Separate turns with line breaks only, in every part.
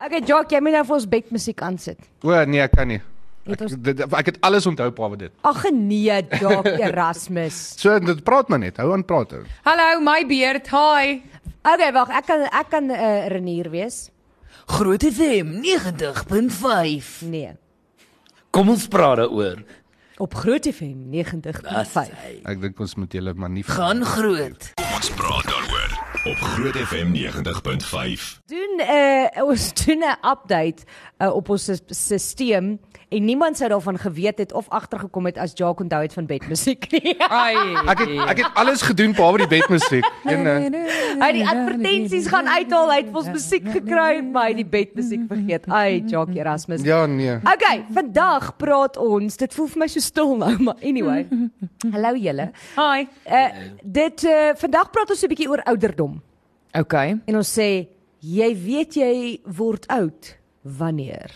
Okay, Jock, jy moet nou vir ons bedmusiek aansit.
O nee, ek kan nie.
Het
Ek,
ons-
dit, ek het alles onthou pa wat dit.
Ag nee, Jock Erasmus.
So dit praat maar net. Hou aan praat ou.
Hallo, my beerd. Hi.
Okay, wag, ek kan ek kan 'n uh, renier wees.
Groot FM 90.5.
Nee,
Kom ons praat daaroor.
op Groot FM 90.5.
Ek dink ons moet julle maar nie
Gaan groot.
Ons praat daaroor op Groot FM 90.5.
Doen uh, ons doen 'n update uh, op ons sis- stelsel en niemand sou daarvan geweet het of agtergekom het as Jock onthou het van bedmusiek nie.
Ai.
Ek het ek het alles gedoen behalwe die bedmusiek. En uh,
Hy het die advertensies gaan uithaal, hy het vir ons musiek gekry, maar hy het die bedmusiek vergeet. Ai, Jock Erasmus.
ja nee.
Okay, vandag praat ons. Dit voel vir my so stil nou, maar anyway. Hallo julle.
Hi.
Uh dit uh, vandag praat ons 'n bietjie oor ouderdom.
Okay.
En ons sê jy weet jy word oud wanneer?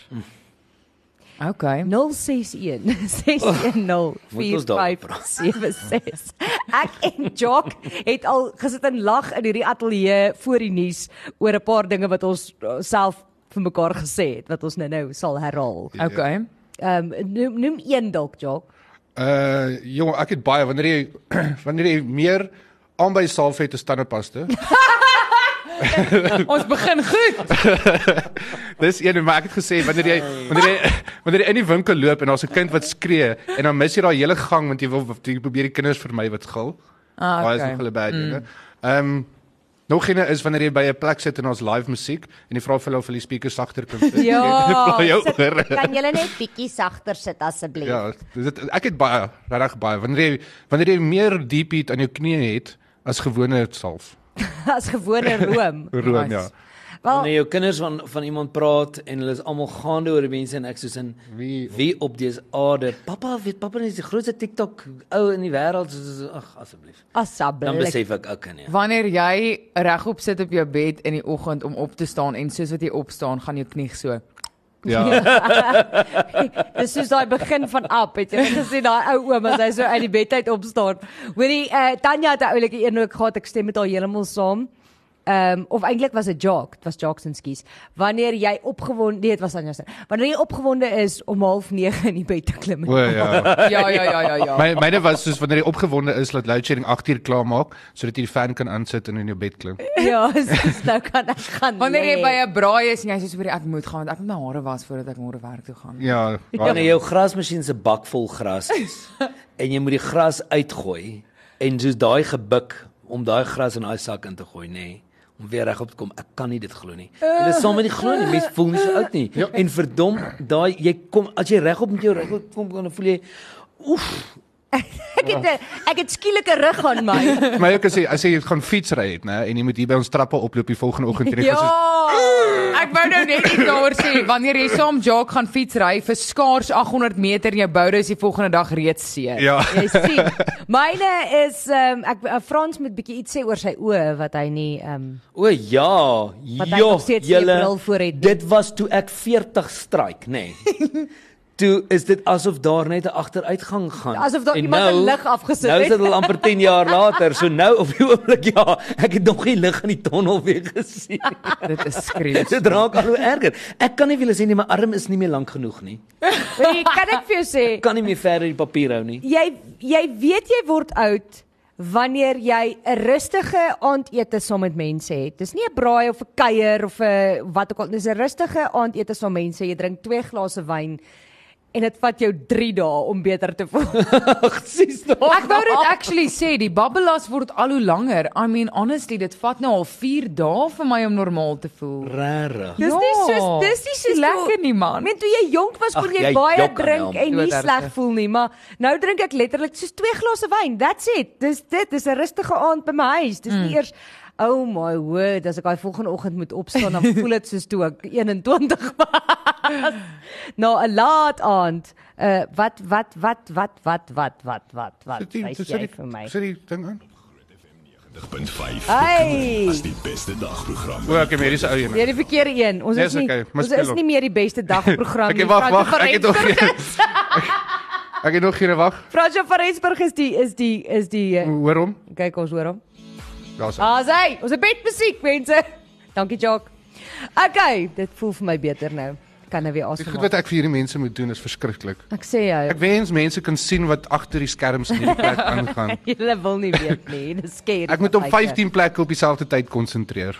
Okay.
061 610
Oh, Moet ons daaroor
4576. Ek en Jock het al gesit en lag in hierdie ateljee voor die nuus oor 'n paar dinge wat ons uh, self vir mekaar gesê het wat ons nou-nou sal herhaal.
Ja.
Okay.
Ehm um, noem, noem een dalk Jock.
Uh jong, ek het baie wanneer jy wanneer jy meer aanby salf het as tandepasta.
Ons begin goed.
Dis een maar ek het gesê wanneer jy wanneer jy wanneer jy in die winkel loop en daar's 'n kind wat skree en dan mis jy daai hele gang want jy wil jy probeer die kinders vermy wat gil.
Ah,
Daai is
okay.
nog hulle bad dinge. Ehm um, nog een is wanneer jy by 'n plek sit en daar's live musiek en jy vra vir hulle of hulle die speaker sagter kan sit.
Ja,
Pla jou
sit-
oor.
Kan julle net bietjie sagter sit asseblief?
Ja, dit ek het baie regtig baie wanneer jy wanneer jy meer deep heat aan jou knie het as gewone salf.
As gewone room.
Room ja.
Nice.
Wel,
Wanneer jou kinders van van iemand praat en hulle is almal gaande oor die mense en ek soos in
Wie-
wie op dese aarde. Pappa, weet pappa is die grootste TikTok ou in die wêreld. Soos- soos- Ag asseblief. Dan
asseblief.
besef ek nee. ek kan nie.
Wanneer jy regop sit op jou bed in die oggend om op te staan en soos wat jy opstaan, gaan jou knie so.
Ja.
Dis soos daai begin van Up, het jy net gesien daai ou oom as hy so uit die bed uit opstaan. Hoorie, uh, Tanya het 'n oulike een ook gehad, ek stem met haar heeltemal saam. Ehm um, of eintlik was dit Jock, dit was Jackson skies. Wanneer jy opgewonde, nee, dit was Tanya se. Wanneer jy opgewonde is om 09:30 in die bed te klim.
O ja.
Ja, ja, ja, ja, ja.
My myne was soos wanneer jy opgewonde is dat load shedding 8 uur klaar maak sodat jy die fan kan aansit en in jou bed klim.
ja, dis nou kan ek gaan.
Wanneer jy
lê.
by 'n braai is en jy sê so vir ek moet gaan want ek moet my hare was voordat ek môre werk toe gaan.
Ja.
Wanneer jou grasmasjien se bak vol gras is en jy moet die gras uitgooi en soos daai gebuk om daai gras in daai sak in te gooi, nê. Nee om weer regop te kom. Ek kan nie dit glo nie. Jy is saam met die glo nie. Mense voel nie so oud nie. Ja. En verdom, daai jy kom as jy regop met jou regop kom dan voel jy oef,
ek het 'n- ek het skielike rug aan my.
my ook as jy as jy gaan fietsry het, né, en jy moet hier by ons trappe oploop die volgende oggend en jy gaan soos
Ja. Ek wou nou net iets daaroor sê. Wanneer jy saam Jock gaan fietsry vir skaars 800 meter en jou boude is die volgende dag reeds seer.
Ja.
Jy sien, myne is ehm um, ek Frans moet bietjie iets sê oor sy oë wat hy nie ehm um,
O ja,
Wat hy
ja,
nog steeds nie 'n bril voor het nie.
Dit was toe ek 40 stryk, nê. Nee. toe is dit asof daar net 'n agteruitgang gaan.
Asof daar
En
iemand 'n lig afgesit
nou
het.
Nou is dit al amper 10 jaar later. So nou op die oomblik ja, ek het nog nie lig in die tonnel weer gesien.
Dit is
nie.
skreeu.
Dit raak al hoe erger. Ek kan nie vir julle sê nie, my arm is nie meer lank genoeg nie.
Hoorie, kan ek vir jou sê,
Ek kan nie meer verder die papier hou nie.
jy jy weet jy word oud wanneer jy 'n rustige aandete saam met mense het. Dis nie 'n braai of 'n kuier of 'n wat ook al, dis 'n rustige aandete saam met mense. Jy drink 2 glase wyn en dit vat jou 3 dae om beter te voel.
Presies daai.
Ek wou dit actually sê, die babbelas word al hoe langer. I mean honestly, dit vat nou al 4 dae vir my om normaal te voel.
Rarig.
Dis nie
Ja.
soos dis nie soos
lekker nie
Ek
man.
meen toe jy jonk was kon
Ag,
jy
jy
baie
jok aan
drink
hom.
en nie
Doodhertig.
sleg voel nie, maar nou drink ek letterlik soos 2 glase wyn. That's it. Dis dit. Dis 'n rustige aand by my huis. Dis
Hmm.
nie eers Oh my word, as ek daai volgende oggend moet opstaan, dan voel dit soos toe ek 21 was. Na 'n laat aand. Uh wat wat wat wat wat wat wat wat wat wys jy vir my.
Sit die ding aan.
90.5
Hey!
as die beste dagprogram.
O, ek het hierdie se ou een.
Jy die verkeerde een. Ons
Nee,
is
is
nie
okay. Maar
ons
speel
is
hom.
nie meer die beste dagprogram
Okay, wag,
Frans
wag, ek het nog
Verensburg
geen-
is-
Ek het nog geen wag.
Frans van Rensburg is die is die is die uh,
Hoor hom.
kyk ons hoor hom.
Daar's hy.
Ah, Daar's hy. Ons het bedmusiek mense. Dankie Jock. Okay, dit voel vir my beter nou. Kan nou weer
Die
asem.
goed
haal.
wat ek vir hierdie mense moet doen is verskriklik.
Ek sê jou,
Ek wens mense kan sien wat agter die skerms in hierdie plek aangaan.
julle wil nie weet nie. Dis skerry.
Ek moet op 15 plekke op dieselfde tyd konsentreer.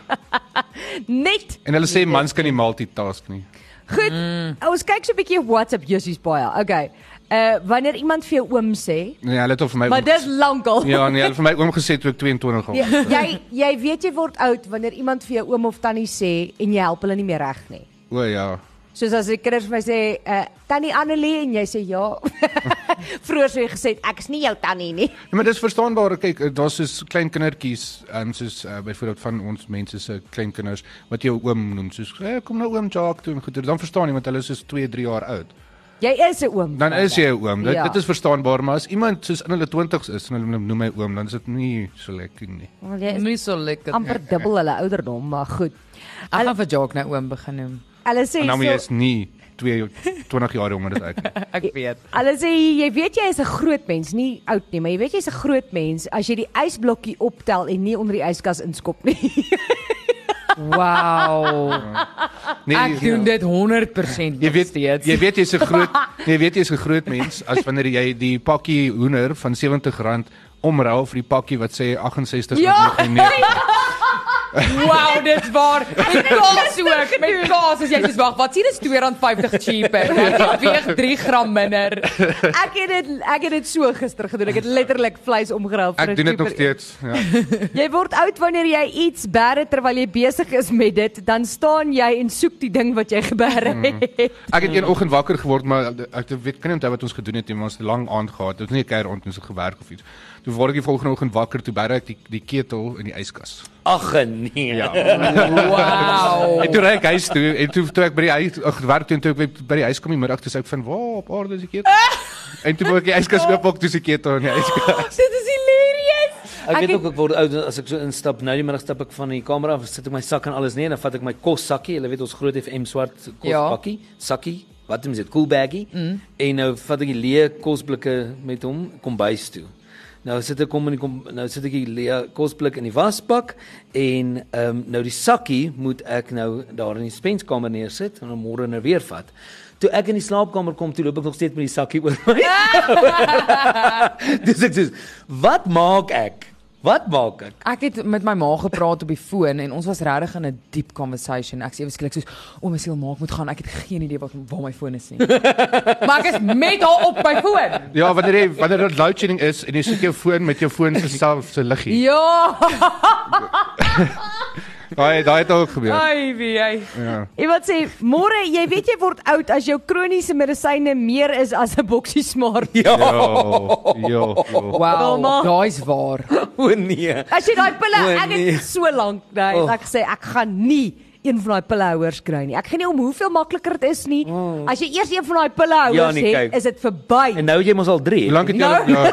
Net
En hulle sê mans kan nie multitask nie.
Goed. Mm. Ons kyk so 'n bietjie op WhatsApp jussies baie. Okay. Uh wanneer iemand vir jou oom sê,
Nee, hulle het al vir my
maar dis Ja. lankal.
Ja, nee, hulle het vir my oom gesê toe ek 22 was.
Jy, jy jy weet jy word oud wanneer iemand vir jou oom of tannie sê en jy help hulle nie meer reg nie.
O ja.
Soos as die kinders vir my sê, uh tannie Annelie en jy sê ja. Vroeger sou jy gesê ek is nie jou tannie nie.
Ja, maar dis verstaanbaar. Kyk, daar's soos klein kindertjies, ehm um, soos uh, byvoorbeeld van ons mense se kleinkinders wat jou oom noem, soos hey, kom nou oom Jacques toe en goeie. Dan verstaan jy want hulle is soos 2, 3 jaar oud.
Jy is 'n oom.
Dan is jy 'n oom. Dit,
Ja.
ja. dit is verstaanbaar, maar as iemand soos in hulle 20's is en hulle noem my oom, dan is dit nie so lekker nie.
Want jy is
Nie so lekker.
amper dubbel hulle ouderdom, maar goed.
Ek gaan vir Jock nou oom begin noem.
Hulle
En
sê
nou jy
so,
is nie 2 20 jaar jonger as ek nie.
Ek weet.
Hulle sê jy weet jy is 'n groot mens, nie oud nie, maar jy weet jy's 'n groot mens as jy die ysblokkie optel en nie onder die yskas inskop nie.
Wow.
Nee,
Ek
jy-
doen dit 100%
Jy
nog
weet
steeds.
jy weet jy's 'n groot jy weet jy's 'n groot mens as wanneer jy die pakkie hoender van R70 omruil vir die pakkie wat sê 68
Ja.
wat nie geneem.
Wow, dis waar. Met kaas ook. Met kaas as jy soos wag, wat sien is R2.50 cheaper. Dit weeg 3 gram minder.
ek het dit ek het dit so gister gedoen. Ek het letterlik vleis omgeruil vir
Ek
'n
doen dit nog
cheaper-
steeds. Ja.
Jy word oud wanneer jy iets bære terwyl jy besig is met dit, dan staan jy en soek die ding wat jy gebêre
Mm.
het.
Ek het een oggend wakker geword, maar ek weet kan nie onthou wat ons gedoen het nie, maar ons het lang aand gehad. Ons het nie 'n kuier rond ons het gewerk of iets. Toe word ek die volgende oggend wakker toe bera ek die die ketel in die yskas.
Ag nee. Ja.
En
Oh.
Wow.
toe ry ek huis toe en toe toe ek by die huis ag, werk toe en toe ek by- by die huis kom die middag toe sê ek van waar op aarde is die ketel? En toe wou ek die yskas oopmaak toe se ketel in die yskas.
Dit is hilarious.
Ek
het-
weet ook ek word oud en as ek so instap nou die middag stap ek van die kamera af, sit ek my sak en alles neer en dan vat ek my kossakkie, jy weet ons groot FM swart
Ja.
kospakkie, sakkie, wat is dit, cool baggie. Mm. En nou vat ek die leë kosblikke met hom kombuis toe. Nou sit ek kom in die kom, nou sit ek die leë kosblik in die wasbak en ehm um, nou die sakkie moet ek nou daar in die spenskamer neersit en dan môre nou weer vat. Toe ek in die slaapkamer kom, toe loop ek nog steeds met die sakkie oor my. Dis ek sê, wat maak ek? Wat maak ek?
Ek het met my ma gepraat op die foon en ons was regtig in 'n diep conversation. Ek sê ewe skielik soos, "O my siel, ma, ek moet gaan. Ek het geen idee wat waar my foon is nie." maar ek is met haar op my foon.
Ja, wanneer jy wanneer dit load shedding is en jy sit jou foon met jou foon se self se liggie.
Ja,
Daai daai het ook gebeur.
ai wie hy.
Ja.
Iemand sê môre, jy weet jy word oud as jou kroniese medisyne meer is as 'n boksie smaar.
Ja.
Ja.
Jo, jo, jo.
Wilma.
Wow, daai's waar.
O nee.
As jy daai pille,
O,
ek
nee.
het so lank daai
Oh.
oh. ek gesê ek gaan nie een van daai pillehouers kry nie. Ek gee nie om hoeveel makliker dit is nie. As jy eers een van daai
Ja,
pillehouers
nee,
het,
kyk.
is dit verby.
En nou het jy mos al 3.
Hoe lank het jy
Nou.
al- ja,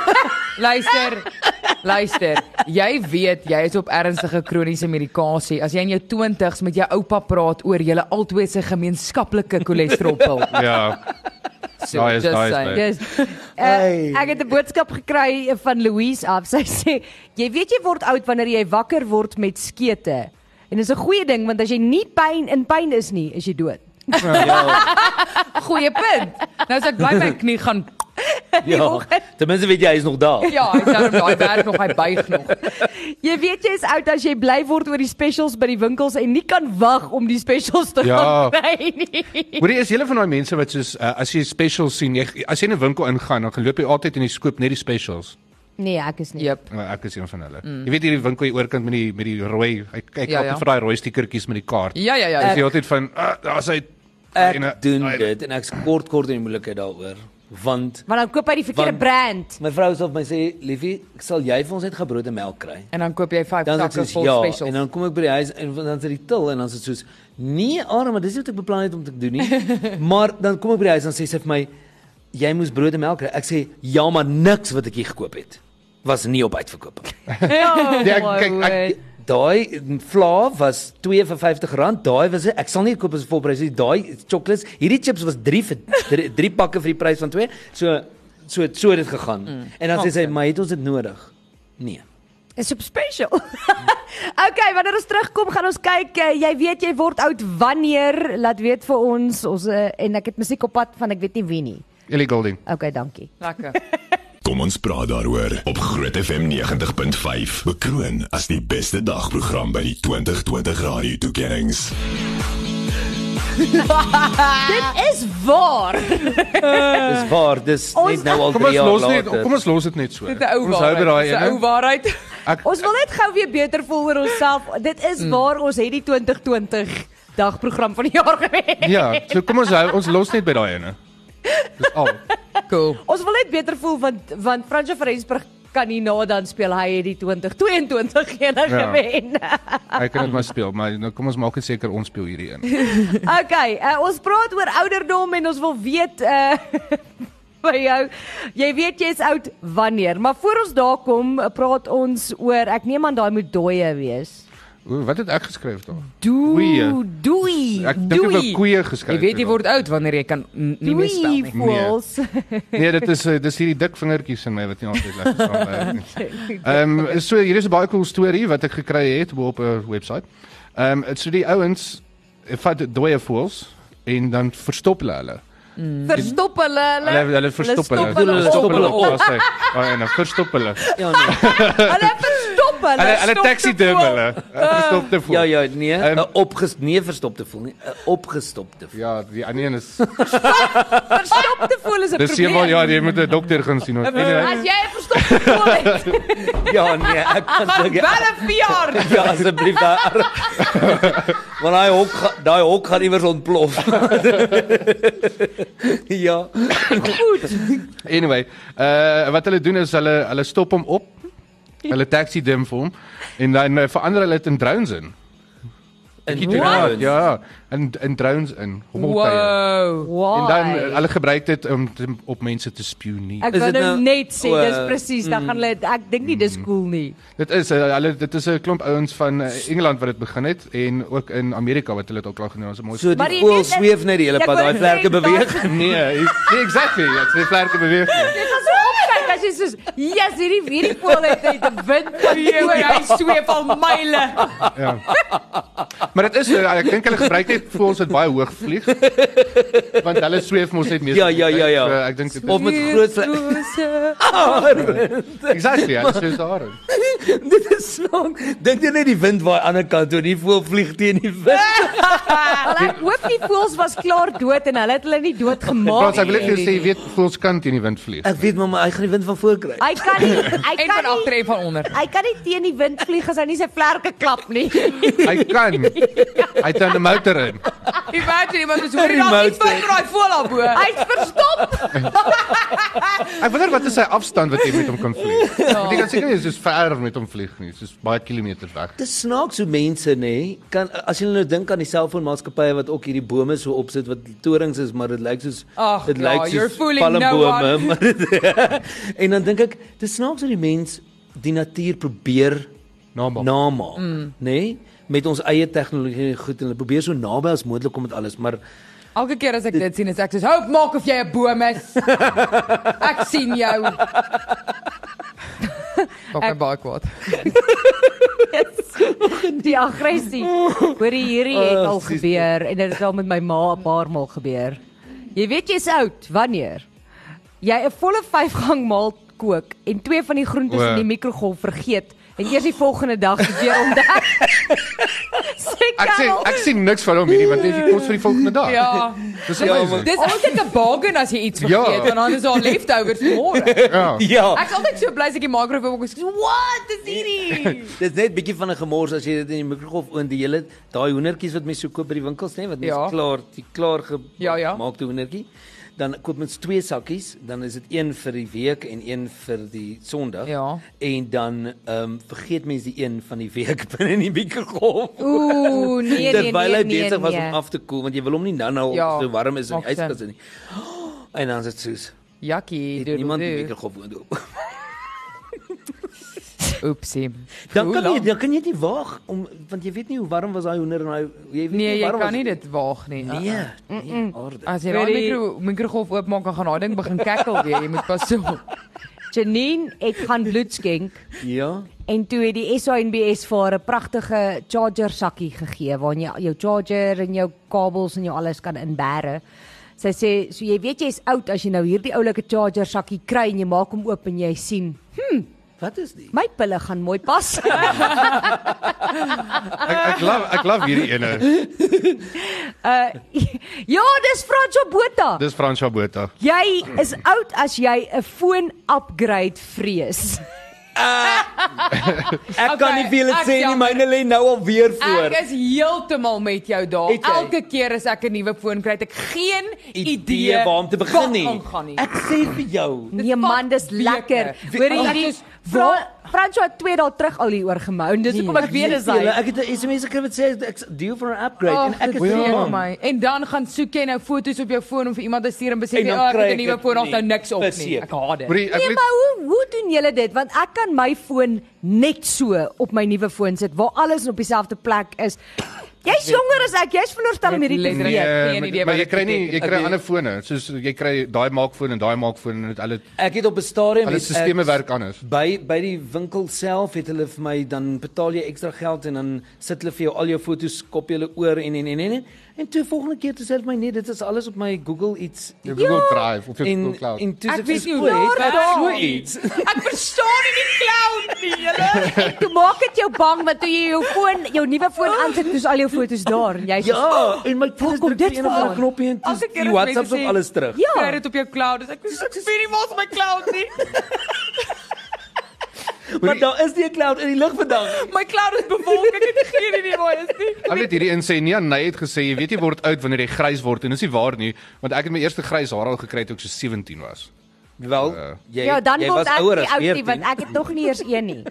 Luister. Luister, jy weet jy is op ernstige kroniese medikasie. As jy in jou 20's met jou oupa praat oor julle albei se gemeenskaplike cholesterolpil.
ja.
So,
Daai is-
just
daai is daai.
saying.
Dis uh, ek het 'n boodskap gekry van Louise af. Sy sê, "Jy weet jy word oud wanneer jy wakker word met skete." En dis 'n goeie ding want as jy nie pyn in pyn is nie, is jy dood.
nou?
Goeie punt. Nou as ek bly my knie gaan
Ja. Ten minste weet jy hy is nog daar.
ja, hy sou daai werk nog hy buig nog.
Jy weet jy is oud as jy bly word oor die specials by die winkels en nie kan wag om die specials te
Ja.
gaan kry nie.
Hoorie, is hele van daai mense wat soos uh, as jy specials sien, jy as jy in 'n winkel ingaan, dan loop jy altyd en jy skoop net die specials.
Nee, ek is nie.
Jep.
Nou, ek is een van hulle. Mm. Jy weet hierdie winkel hier oorkant met die met die rooi, hy kyk
Ja,
ja,
ja.
altyd vir daai rooi stiekertjies met die kaart.
Ja ja ja.
Eh,
Dis jy altyd van ah, daar's hy
Ek
en, uh,
doen
hy-
dit en ek's kort kort in die moeilikheid daaroor want
Maar dan koop hy die verkeerde
Want-
brand.
my vrou sê of my sê liefie, sal jy vir ons net gebrood en melk kry?
En dan koop jy 5
Dan sê
sakke
ek soos,
vol
ja,
specials.
en dan kom ek by die huis en dan sê die til en dan sê dit soos nee, arme, dis nie wat ek beplan het om te doen nie. maar dan kom ek by die huis en sê sy vir my jy moes brood en melk kry. Ek sê ja, maar niks wat ek hier gekoop het was nie op uitverkoop.
Oh,
Ja, my kyk, ek-
Daai mm, vla was 2 vir R50. Daai was ek sal nie koop as volprys nie. Daai chocolates, hierdie chips was 3 vir 3 pakke vir die prys van 2. So so so het dit gegaan. Mm, en dan sê sy, "Maar het ons dit nodig?" Nee.
Is op special. okay, wanneer ons terugkom gaan ons kyk, eh, jy weet jy word oud wanneer, laat weet vir ons. Ons eh, en ek het musiek op pad van ek weet nie wie nie.
Ellie Goulding.
Okay, dankie.
Lekker.
Kom ons praat daaroor op Groot FM 90.5. Bekroon as die beste dagprogram by die 2020 radio toekenninge.
Dit is waar.
Dis waar, dis net nou al
Kom
3
ons
jaar
los
later.
net, kom ons los dit net so.
Dit is 'n ou
Ons hou by daai
waarheid. Dis 'n ou
ene.
waarheid.
Ek
Ons wil net gou weer beter voel oor onsself. Dit is waar ons het die 2020 dagprogram van die jaar gewen.
ja, so kom ons hou ons los net by daai ene. Dis al.
Cool.
Ons wil net beter voel want want Fransjo Verensburg kan nie na dan speel hy het die 2022 ene ja.
Ja.
gewen.
Hy kan dit maar speel, maar nou kom ons maak dit seker ons speel hierdie een.
Okay, uh, ons praat oor ouderdom en ons wil weet uh by jou. Jy weet jy's oud wanneer, maar voor ons daar kom, eh, praat ons oor ek neem aan daai moet dooie wees.
O, wat het ek geskryf daar?
Doe,
Oeie.
doei.
Ek dink ek
Doei.
het koeie geskryf.
Jy weet jy
het
word oud wanneer jy kan n- nie meer spel
Nee.
Doei,
nie.
fools.
daar. Nee, dit is eh, dis hierdie dik vingertjies in my wat nie altyd lekker staan nie. Ehm um, so hier is 'n baie cool storie wat ek gekry het bo op 'n webwerf. Ehm um, so die ouens eh, vat dooie voels en dan verstop hulle hulle.
Verstop hulle hulle.
Hulle hulle verstop hulle.
stop hulle op.
Stop hulle op.
daar's hy. Ja, en dan verstop hulle.
Ja nee.
Hulle verstop hulle.
Hulle hulle taxi dim hulle. Hulle Verstopte voel.
Ja ja, nee,
Ehm,
'n opges nee verstopte voel nie, 'n opgestopte voel.
Ja, die ander een is
Verstopte voel is 'n
dis
probleem.
seker ja, jy moet 'n dokter gaan sien. hoor.
Eh,
Nee,
As jy 'n verstopte voel het,
Ja nee, ek kan
Gaan
dink
wel 'n VR.
Ja, asseblief daar. Want daai hok, ga- daai hok gaan iewers ontplof. ja.
Anyway, uh wat hulle doen is hulle hulle stop hom op. Hulle taxi dim vir hom en dan uh, verander hulle dit in drones in.
En
Ja, ja, in in drones in. Hommeltuie.
Wow.
Why?
En dan uh, hulle gebruik dit om te- op mense te spioneer.
Ek
Is
wou
dit
nou
nou-
net sê,
o,
dis
Oh,
eh,
presies,
mm.
dan gaan hulle ek dink nie dis cool nie.
Dit is uh, hulle dit is 'n klomp ouens van uh, Engeland wat dit begin het en ook in Amerika wat hulle dit ook al genoem het. Ons mooi.
So
Maar
die
jy
voel
weet,
sweef net Ja, die hele
ek
pad,
wou
daai
net
vlerke
sê,
beweeg.
nee, is- nee, exactly. Dit's die vlerke beweeg. nie.
Dit is so opkyk as jy soos,
Ja,
"Yes, hierdie hierdie voel het uit die wind."
Jy
ja.
oor hy sweef al myle.
Ja. Maar dit is uh, ek dink hulle gebruik dit vir ons wat baie hoog vlieg. Want hulle sweef mos net meer.
Ja, ja, ja, ja.
So, ek dink dit is
Of met groot vlerke.
Oh,
Exactly, ja, dis daar.
Dit is snaak. Dink jy net die wind waar aan die ander kant toe, die voel vlieg teen die wind.
Wel, ek hoop die voels was klaar dood en hulle het hulle nie dood
Frans,
gemaak
ek wil net
nie.
vir jou sê, jy weet, voels kan teen die wind vlieg.
Ek weet maar maar hy gaan die wind van voor kry.
Hy kan nie hy
En
kan
van agter
nie
en van onder.
hy kan nie teen die wind vlieg as hy nie sy vlerke klap nie.
Hy kan. Hy het 'n motor in.
Imagine iemand is hoor
Die
daar
mouse.
iets van raai vol op.
Hy's verstop.
Ek wonder wat is sy afstand wat jy met hom kan vlieg.
Ja.
Want jy kan seker nie soos ver met hom vlieg nie, soos baie kilometers weg.
Dis snaaks hoe mense nê, kan as jy nou dink aan die selfoonmaatskappye wat ook hierdie bome so opsit wat torings is, maar dit lyk soos
Ag,
dit
ja, you're fooling no one.
maar dit En dan dink ek, dis snaaks hoe die mens die natuur probeer
Namaak.
namaak, mm. nê? Met ons eie tegnologie en goed en hulle probeer so naby as moontlik kom met alles, maar
Elke keer as ek dit sien, is ek soos, dus, "Hoop maak of jy 'n boom is." Ek sien jou. Kom my baie kwaad.
Die aggressie. Hoorie, hierdie het
Oh,
al
sies.
gebeur en dit het al met my ma 'n paar maal gebeur. Jy weet jy's oud wanneer jy 'n volle 5 gang maal kook en twee van die groentes
O.
in die mikrogolf vergeet en eers die volgende dag dit weer ontdek. Sê
Ek sien
Karel,
ek sien niks van hom hierdie want dis die kos vir die volgende dag.
Ja.
Dis
Ja,
amazing.
Dis altyd 'n bargain as jy iets
Ja.
vergeet, want dan is daar leftovers môre.
Ja.
ja,
Ek is altyd so bly as ek die microwave ook is. What is hierdie?
Dis net bietjie van 'n gemors as jy dit in die mikrogolf oond die hele daai hoendertjies wat mense so koop by die winkels nê wat mense
Ja.
ja. klaar die klaar gemaakte
Ja, ja.
hoendertjie dan koop mens twee sakkies dan is dit een vir die week en een vir die Sondag
Ja.
en dan ehm um, vergeet mens die een van die week binne in die mikrogolf
Ooh, nee nee nee.
terwyl hy
nee,
besig was
nee.
om af te koel want jy wil hom nie nou nou
Ja,
so warm is in
maak
die yskas
sin.
nie en dan is dit soos
Jakkie,
het
doodle
niemand die
doo.
mikrogolf oond oop
Oepsie.
dan
Hoe
kan jy
lang?
dan kan jy dit nie waag om want jy weet nie hoe warm was daai hoender en hy jy weet
Nee,
nie hoe
jy
warm
kan
was
nie dit waag nie.
Nee, nee, aarde.
As jy daai
Really?
mikro mikrogolf oopmaak, dan gaan daai ding begin kekkel weer. Jy moet pas op.
Janine, ek gaan bloed skenk
Ja.
En toe het die SANBS vir haar 'n pragtige charger sakkie gegee waarin jy jou charger en jou kabels en jou alles kan inbære. Sy sê, "So jy weet jy's oud as jy nou hierdie oulike charger sakkie kry en jy maak hom oop en jy sien,
Wat is dit?
my pille gaan mooi pas."
Ek ek love ek love hierdie ene.
uh, ja, dis Fransjo Botha.
Dis Franswa Botha.
Jy is oud as jy 'n foon upgrade vrees.
Ek kan nie vir julle
ek
sê nie,
jammer.
myne lê nou al weer voor.
Ek is heeltemal met jou daar.
Het jy?
Elke keer as ek 'n nuwe foon kry, het ek geen idee,
Idee waar om te begin
wat
nie.
aangaan nie.
Ek sê vir jou.
Nee man, dis
vat
lekker.
weke.
Hoor jy
Wie-
hierdie
Ek is-
Fra- Fransjo het 2 dae terug al hier Nee. oor gemou en dis hoekom ek weet dis
Julle,
hy.
Ek het 'n SMS gekry wat sê ek deel vir 'n upgrade
Ag,
en ek is
dit
so
seer
bang.
my. En dan gaan soek jy nou foto's op jou foon om vir iemand te stuur en besef
En
jy,
dan
"O, ek
kry
het 'n
ek
nuwe
dit
foon, daar's
nie.
nou niks op nie."
Verseker.
Ek haat dit.
Hoorie, ek
Nee,
weet
maar hoe hoe doen julle dit? Want ek kan my foon net so op my nuwe foon sit waar alles op dieselfde plek is. Jy's jonger as ek. Jy's veronderstel om
Dit
hierdie te weet.
letterlik-
eh,
geen
maar-
idee
maar
wat
jy
dit
kry nie
beteken.
jy kry
Ek weet-
ander fone. Soos jy kry daai maakfoon en daai maakfoon en dit hulle
Ek het op 'n stadium
hulle
het ek-
stelsels werk anders.
By by die winkel self het hulle vir my dan betaal jy ekstra geld en dan sit hulle vir jou al jou foto's kop hulle oor en en en en en, en toe volgende keer toe sê hulle vir my nee dit is alles op my Google iets
Jou Google Drive of jou Google Cloud.
en toe
Ek weet nie hoe
hoe
daar
dit
daar-
so iets
Ek verstaan nie die clown nie, julle.
En toe maak dit jou bang want toe jy jou foon, jou nuwe foon aansit, dis al jou foto's daar en jy sê,
ja en my
Waar
foto's
kom
druk
dit
vir een of ander
vandaan?
knoppie en
Elke
toe
keer
die
as mense
WhatsApps
sê-
op alles terug
Ja.
Kry dit op jou cloud. Dis ek ek weet nie waar is my cloud nie.
maar daar is nie 'n cloud in die lig vandag
My cloud is bewolk. Ek het geen idee waar dit is nie.
Hulle het hierdie insê nee, hy het gesê jy weet jy word oud wanneer jy grys word en dis nie waar nie, want ek het my eerste grys haar al gekry toe ek so 17 was.
wel jy
ja, dan
jy
word
was
ek
ouer
nie
as
oud nie
14.
want ek het nog nie eers een nie.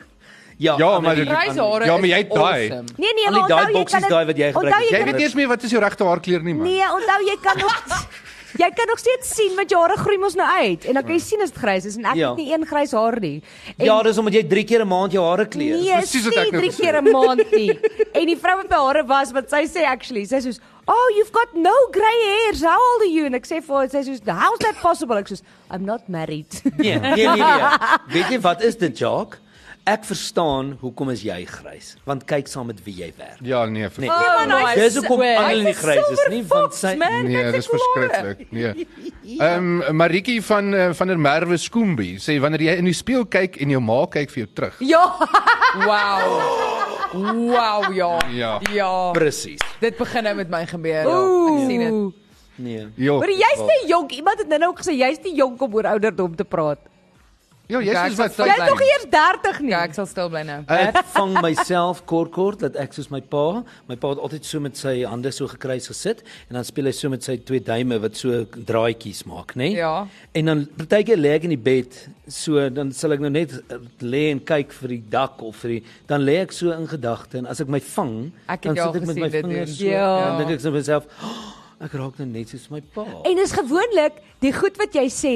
ja
Ja,
Annelie,
maar dit-
Kruishare
Ja, maar jy
is
het daai.
awesome.
Nee nee, maar
Al die
onthou jy
dye
kan
boksies daai wat jy gebruik het.
Onthou
Jy
jy kan
weet nie eens meer wat is jou regte haarkleur nie man.
Nee, onthou jy kan nog Jy kan nog steeds sien want jou hare groei mos nou uit en dan kan jy sien as dit grys is en ek
Ja.
het nie een grys haar nie. En
ja dis omdat jy 3 keer 'n maand jou hare kleur
Nee,
Dis
is
presies wat
nie
ek nou
drie
gesê
keer 'n maand nie. En die vrou wat by haar was, wat sy sê actually, sy sê soos, "Oh, you've got no grey hairs. How old are you?" En ek sê vir haar, sy sê soos, "How's that possible?" Ek sê, "I'm not married."
Nee, nee, nee, nee. Weet jy wat is dit, Jacques? Ek verstaan hoekom is jy grys, want kyk saam met wie jy werk.
Ja, nee, vir
Nee.
nee,
man, hy
dis hoekom
swear.
Annelie nie grys is nie, want sy
nee dis verskriklik. Nee. Ehm Maritjie van eh, van der Merwe Skoombie sê wanneer jy in die spieël kyk en jou ma kyk vir jou terug.
Ja,
Wow. Wow, ja.
Ja.
Ja.
presies.
Dit begin nou met my gebeur. Ek sien dit.
Ooh.
Nee.
Jo.
maar jy's te jonk. Iemand het nou-nou gesê jy's te jonk om oor ouderdom te praat.
Jo, jy's
Kyk,
Ja, is wat
wat
Jy's
Bly.
nog eers 30 nie.
Ja, ek sal stil bly nou.
Ek vang myself kort kort dat ek soos my pa, my pa het altyd so met sy hande so gekruis gesit en dan speel hy so met sy twee duime wat so draadjies maak, né? Nee?
Ja.
En dan partykeer lê ek in die bed, so dan sal ek nou net eh, lê en kyk vir die dak of vir die dan lê ek so in gedagte en as ek my vang,
Ek het
dan
jou
sit ek
gesien
met my
dit doen.
vingers so
Ja.
en dan dink ek so vir myself, oh, ek raak nou net soos my pa.
En dis gewoonlik die goed wat jy sê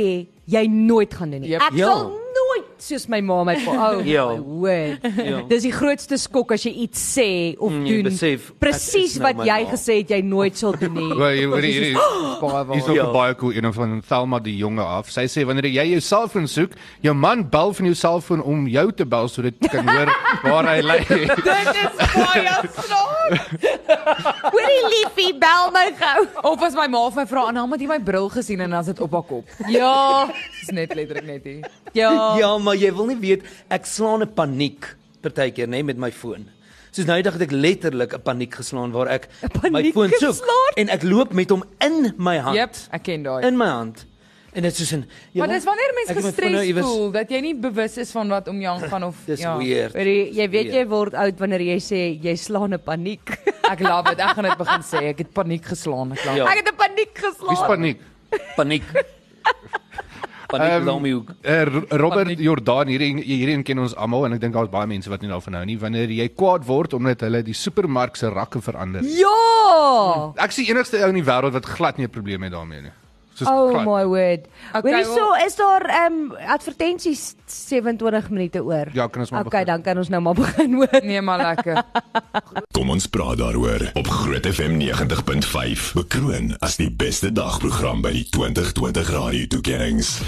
jy nooit gaan doen nie.
Jep.
Ek
Ja.
sal nooit soos my ma my pa. Oh,
Ja.
my word.
Ja.
Dis die grootste skok as jy iets sê of
Mm, jy
doen.
besef, ek
presies
is nou
wat
my
jy
ma.
gesê het jy nooit sal doen nie.
Wel, hier hier
Baie
Dis ook
Ja.
ja. baie cool een van Thelma die jonge af. Sy sê wanneer jy jou selfoon soek, jou man bel van jou selfoon om jou te bel sodat jy kan hoor waar hy lê.
Dit is baie snaaks.
Hoorie liefie, bel my gou.
Of as my ma vir my vra, "Anna, het jy my bril gesien?" en dan sit op haar kop.
Ja,
Dis net letterlik net hier.
ja.
Ja, maar jy wil nie weet ek slaan 'n paniek partykeer nê met my foon. Soos nou die dag het ek letterlik 'n paniek geslaan waar ek my
paniek
foon soek
geslaan?
en ek loop met hom in my hand.
Jep, ek ken daai.
In my hand. En dit is soos "Ja, 'n
Maar dis wanneer mens
Ek het my foon nou
gestres
iewers-
voel dat jy nie bewus is van wat om jou aangaan of
Dis
ja.
weird.
Hoorie, jy weet jy word oud wanneer jy sê jy slaan 'n paniek.
Ek love dit. Ek gaan dit begin sê. Ek het paniek geslaan, ek love.
Ja.
Ek het 'n paniek geslaan.
Dis paniek.
Paniek. paniek um, daarmee ook.
Eh, R- Robert
Paniek.
Jordan hierdie hierdie een ken ons almal en ek dink daar's baie mense wat nie daarvan hou nie wanneer jy kwaad word omdat hulle die supermark se rakke verander.
Ja.
Ek is die enigste ou in die wêreld wat glad nie 'n probleem het daarmee nie. Soos
Oh
glad.
my word.
Okay,
Hoorie
wel-
so is daar ehm um, advertensies 27 minute oor.
Ja, kan ons maar
Okay,
begin.
dan kan ons nou maar begin hoor.
Nee, maar lekker.
Kom ons praat daaroor op Groot FM 90.5 bekroon as die beste dagprogram by die 2020 radio toekenninge.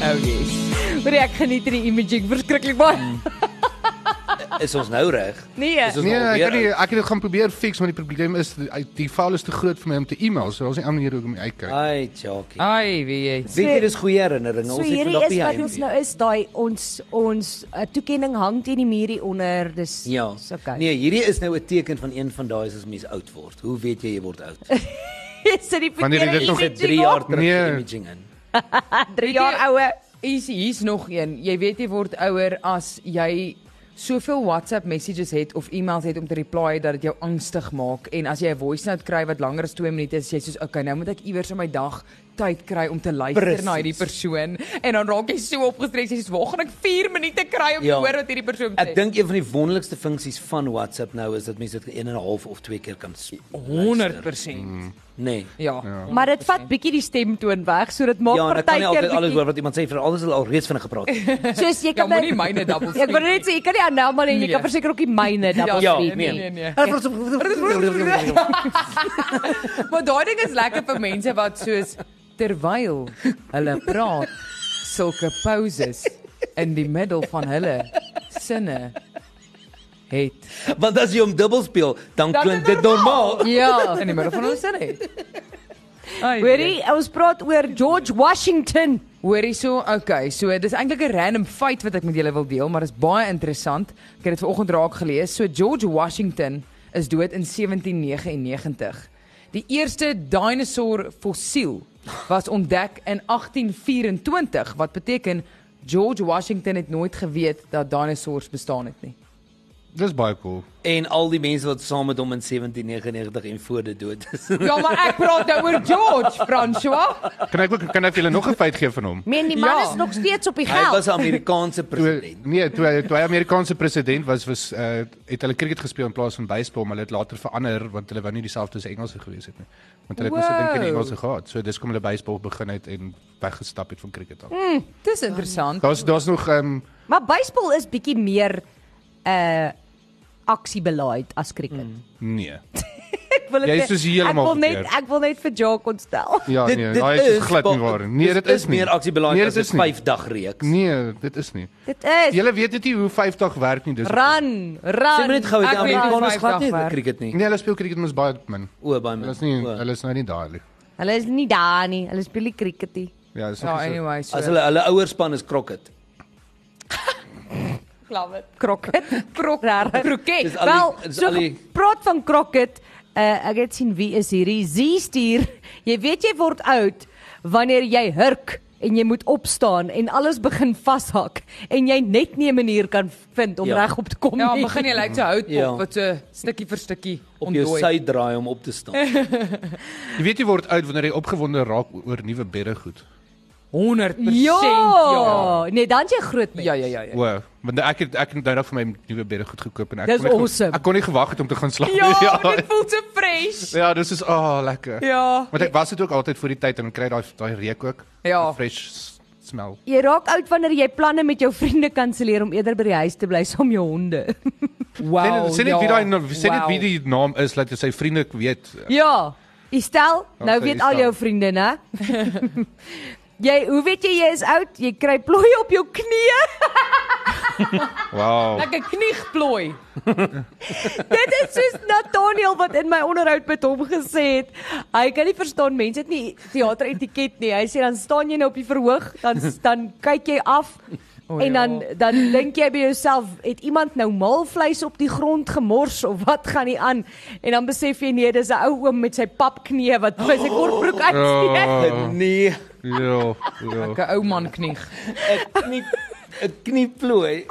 Oh yes.
Hoor jy, ek geniet hierdie imaging verskriklik baie.
Is ons nou reg?
Nee.
Is ons
Nee,
Mm. nou
ek
weer
kan nie ek het dit gaan probeer fix want die probleem is die, die file is te groot vir my om te e-mail, so daar's nie 'n ander manier hoe ek hom uitkyk.
Ai, Jackie.
Ai, wie jy.
Weet jy dis goeie herinneringe.
Ah, So
Ons het
hierdie
vandag
is
by
wat ons nou
jou.
is, daai ons ons uh, toekenning hang teen die muur hier onder. Dis
Ja.
dis okay.
Nee, hierdie is nou 'n teken van een van daai is as mens oud word. Hoe weet jy jy word oud?
Sit die
Wanneer
verkeerde
jy dit nog
image
3
op,
jaar terug
Nee.
nee. imaging in.
3 jaar oue.
Hier's hier's nog een. Jy weet jy word ouer as jy soveel WhatsApp messages het of e-mails het om te reply dat dit jou angstig maak en as jy 'n voice note kry wat langer as 2 minute is, jy soos okay, nou moet ek iewers in my dag tyd kry om te luister
Presies.
na hierdie persoon en dan raak jy so opgestres jy soos waar gaan ek 4 minute kry om te
Ja.
hoor wat hierdie persoon sê.
Ek dink een van die wonderlikste funksies van WhatsApp nou is dat mense dit 1 en 'n half of 2 keer kan sp- luister.
100%. Mm.
Nee.
Ja. ja.
Maar dit vat bietjie die stemtoon weg, so dit maak
Ja, en ek kan nie
partykeer
altyd alles hoor wat iemand sê vir alles al reeds vinnig gepraat het.
Soos jy
Ja,
kan by-
moenie myne double
Ek wil net sê jy kan nie aan nou maar en jy
Nee.
kan verseker ook nie myne double
Ja,
speak
nee.
nie.
nee, nee.
nee.
Maar daai ding is lekker vir mense wat soos terwyl hulle praat sulke pauses in die middel van hulle sinne het.
Want as jy hom dubbel speel, dan
Dan
klink
is
dit normaal.
Ja, in die middel van hulle sinne het. Ai,
Hoorie, ons praat oor George Washington.
Hoorie so, okay, so dis eintlik 'n random feit wat ek met julle wil deel, maar is baie interessant. Ek het dit vanoggend raak gelees. So George Washington is dood in 1799. Die eerste dinosour fossiel was ontdek in 1824, wat beteken George Washington het nooit geweet dat dinosours bestaan het nie.
Dis baie cool.
En al die mense wat saam met hom in 1799 en voor dit dood is.
Ja, maar ek praat nou oor George, François.
Kan ek ook kan ek julle nog 'n feit gee van hom?
Men die man
Ja.
is nog steeds op die
Hy was
geld.
'n Amerikaanse
Toe,
president.
nee, toe hy, toe hy Amerikaanse president was, was uh, het hulle cricket gespeel in plaas van baseball, maar hulle het later verander want hulle wou nie dieselfde as Engelse gewees het nie. Want hulle het mos gedink aan die
Wow.
Engelse gehad. So dis kom hulle baseball begin het en weggestap het van cricket af.
Dis interessant.
Daar's daar's nog ehm um,
Maar baseball is bietjie meer uh aksie belaaid as cricket.
nee.
Ek wil dit
Mm. Jy is
net-
soos heeltemal
Ek wil net
verkeerd.
ek wil net vir Jacques ontstel.
Ja,
Dit-
nee,
dit
daai is glad nie
ba-
waar. nie. Nee,
dit
dit is nie.
meer aksiebelaai
Nee,
as
dit
'n
is nie.
5-dag reeks.
Nee, dit is nie.
Dit is
Julle weet dit nie hoe 50 werk nie, dis.
Run,
Sê
run.
maar net
Ek
gou dat die
weet nie
Amerikaners
vyf
glad
dag
nie
werk.
cricket nie.
Nee, hulle speel cricket mos baie min.
O, baie min.
Hulle is nie
O.
hulle is nou nie daar nie.
Hulle is nie daar nie. Hulle speel nie cricket nie.
Ja, dis
Ja,
nog nie so.
anyway, so.
As hulle hulle ouerspan is cricket.
Krokket, krokket,
Dis
kroket.
al die-
Wel,
dis
so
al die-
praat van krokket. Uh, ek het sien wie is hierdie Z stuur. Jy weet jy word oud wanneer jy hurk en jy moet opstaan en alles begin vashak en jy net nie 'n manier kan vind om
Ja.
ja. regop te kom
Ja,
nie.
begin jy lyk so hout
Ja.
op wat so stukkie vir stukkie
Op jou
ontdooi.
sy draai om op te staan.
Jy weet jy word oud wanneer jy opgewonde raak o- oor nuwe bedde goed.
100%
Ja, nee, dan is jy 'n groot mens.
Ja, ja, ja. ja.
O, want ek het ek het nou nog vir my nuwe bedde goed gekoop en ek
Dis
kon nie ge-
awesome.
ek kon nie gewag het om te gaan slaap
Ja,
nie.
dit voel so fresh.
Ja, dis is ah oh, lekker.
Ja.
Want ek was dit ook altyd vir die tyd en dan kry jy daai daai reuk ook.
Ja.
Die Fresh s- smell.
Jy raak oud wanneer jy planne met jou vriende kanselleer om eerder by die huis te bly saam met jou honde.
Sê
Wow.
net- sê net
ja.
wie daai na- sê net
Wow.
wie die naam is dat jy sy vriende weet.
Ja. Jy stel, nou
sy
weet
Estel.
al jou vriende, né? jy, hoe weet jy jy is oud? Jy kry plooie op jou knieë.
Wow.
Like 'n kniegplooi.
Dit is soos Nathaniel wat in my onderhoud met hom gesê het. Hy kan nie verstaan mense het nie teater etiket nie. Hy sê dan staan jy nou op die verhoog, dan dan kyk jy af.
O,
en dan dan dink jy by jouself, het iemand nou maalvleis op die grond gemors of wat gaan nie aan? En dan besef jy nee, dis 'n ou oom met sy papknie wat by sy kortbroek uitsteek.
Ja.
Nee,
Ja. ja.
'n Ou man knieg.
'n knie 'n knieplooi.